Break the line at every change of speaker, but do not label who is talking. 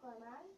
可能